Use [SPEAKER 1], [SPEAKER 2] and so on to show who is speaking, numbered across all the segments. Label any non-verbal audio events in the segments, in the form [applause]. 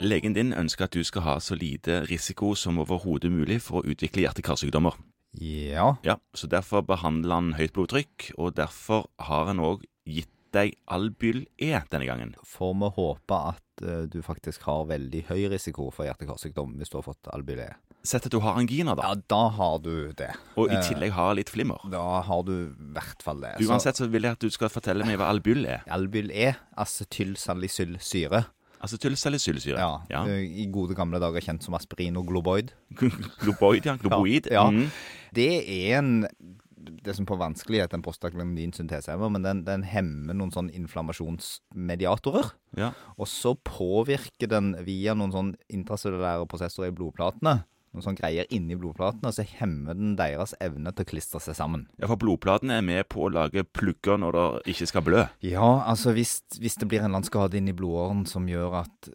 [SPEAKER 1] Legen din ønsker at du skal ha så lite risiko som overhodet mulig for å utvikle hjerte-karsykdommer.
[SPEAKER 2] Ja.
[SPEAKER 1] Ja, så derfor behandler han høyt blodtrykk, og derfor har han òg gitt deg Albyl-E denne gangen.
[SPEAKER 2] Får vi håpe at eh, du faktisk har veldig høy risiko for hjerte-karsykdom hvis du har fått albylé?
[SPEAKER 1] Sett at du har angina, da,
[SPEAKER 2] Ja, da har du det.
[SPEAKER 1] og i
[SPEAKER 2] eh,
[SPEAKER 1] tillegg har litt flimmer.
[SPEAKER 2] Da har du i hvert fall det. Så
[SPEAKER 1] Uansett så vil jeg at du skal fortelle meg hva Albyl er.
[SPEAKER 2] Albyl E, acetylsalicylsyre.
[SPEAKER 1] Altså Acetylsalicylsyre.
[SPEAKER 2] Ja. eh, I gode gamle dager kjent som aspirin og globoid.
[SPEAKER 1] [laughs] Globoid, ja. Globoid.
[SPEAKER 2] Ja, ja.
[SPEAKER 1] Mhm.
[SPEAKER 2] Det er en det som på vanskelig heter en prostaglandinsyntesehemmer, men den, den hemmer noen sånn inflammasjonsmediatorer.
[SPEAKER 1] ja.
[SPEAKER 2] Og så påvirker den via noen sånn intracellulære prosessorer i blodplatene, noen sånn greier inni blodplatene, så hemmer den deres evne til å klistre seg sammen.
[SPEAKER 1] Ja, for blodplatene er med på å lage plugger når det ikke skal blø.
[SPEAKER 2] Ja, altså hvis, hvis det blir en eller annen skade inni blodåren som gjør at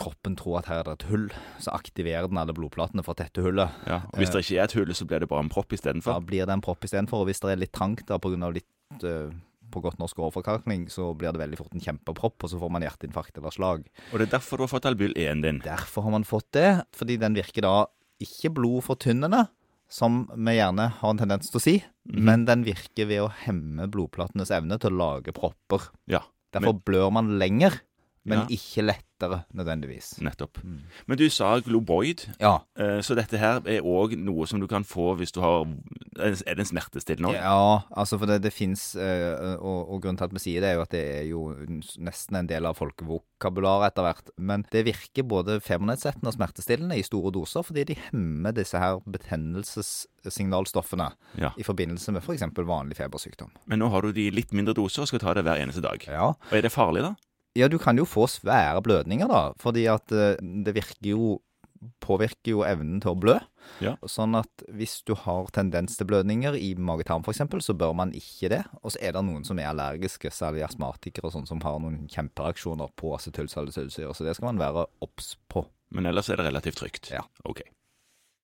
[SPEAKER 2] kroppen tror at her er det et hull, så aktiverer den alle blodplatene for å tette hullet.
[SPEAKER 1] Ja, og Hvis det ikke er et hull, så blir det bare en propp
[SPEAKER 2] Da
[SPEAKER 1] istedenfor.
[SPEAKER 2] blir det en propp istedenfor, og hvis det er litt trangt da pga. litt eh, på godt norsk overforkalkning, så blir det veldig fort en kjempepropp, og så får man hjerteinfarkt eller slag.
[SPEAKER 1] Og det er derfor du har fått Albyl-E-en din.
[SPEAKER 2] Derfor har man fått det, fordi den virker da ikke blodfortynnende, som vi gjerne har en tendens til å si, men den virker ved å hemme blodplatenes evne til å lage propper.
[SPEAKER 1] Ja,
[SPEAKER 2] Derfor blør man lenger, men
[SPEAKER 1] Ja.
[SPEAKER 2] ikke lettere nødvendigvis.
[SPEAKER 1] nettopp.
[SPEAKER 2] Mm.
[SPEAKER 1] Men du sa globoid,
[SPEAKER 2] Ja,
[SPEAKER 1] eh, så dette her er òg noe som du kan få hvis du har Er det en smertestillende òg?
[SPEAKER 2] ja altså for det, det fins og, og grunnen til at vi sier det, er jo at det er jo nesten en del av folkevokabularet etter hvert. Men det virker både febernedsettende og smertestillende i store doser, fordi de hemmer disse her betennelsessignalstoffene.
[SPEAKER 1] Ja.
[SPEAKER 2] i forbindelse med f.eks. vanlig febersykdom.
[SPEAKER 1] Men nå har du de i litt mindre doser og skal ta det hver eneste dag.
[SPEAKER 2] Ja.
[SPEAKER 1] Og Er det farlig, da?
[SPEAKER 2] ja, du kan jo få svære blødninger, da, fordi at eh, det virker jo Påvirker jo evnen til å blø.
[SPEAKER 1] Ja.
[SPEAKER 2] Sånn at hvis du har tendens til blødninger i mage-tarm f.eks., så bør man ikke det. Og så er det noen som er allergiske, særlig astmatikere og sånn, som har noen kjempereaksjoner på acetylsalicylsyre, så det skal man være obs på.
[SPEAKER 1] Men ellers er det relativt trygt.
[SPEAKER 2] Ja.
[SPEAKER 1] Ok.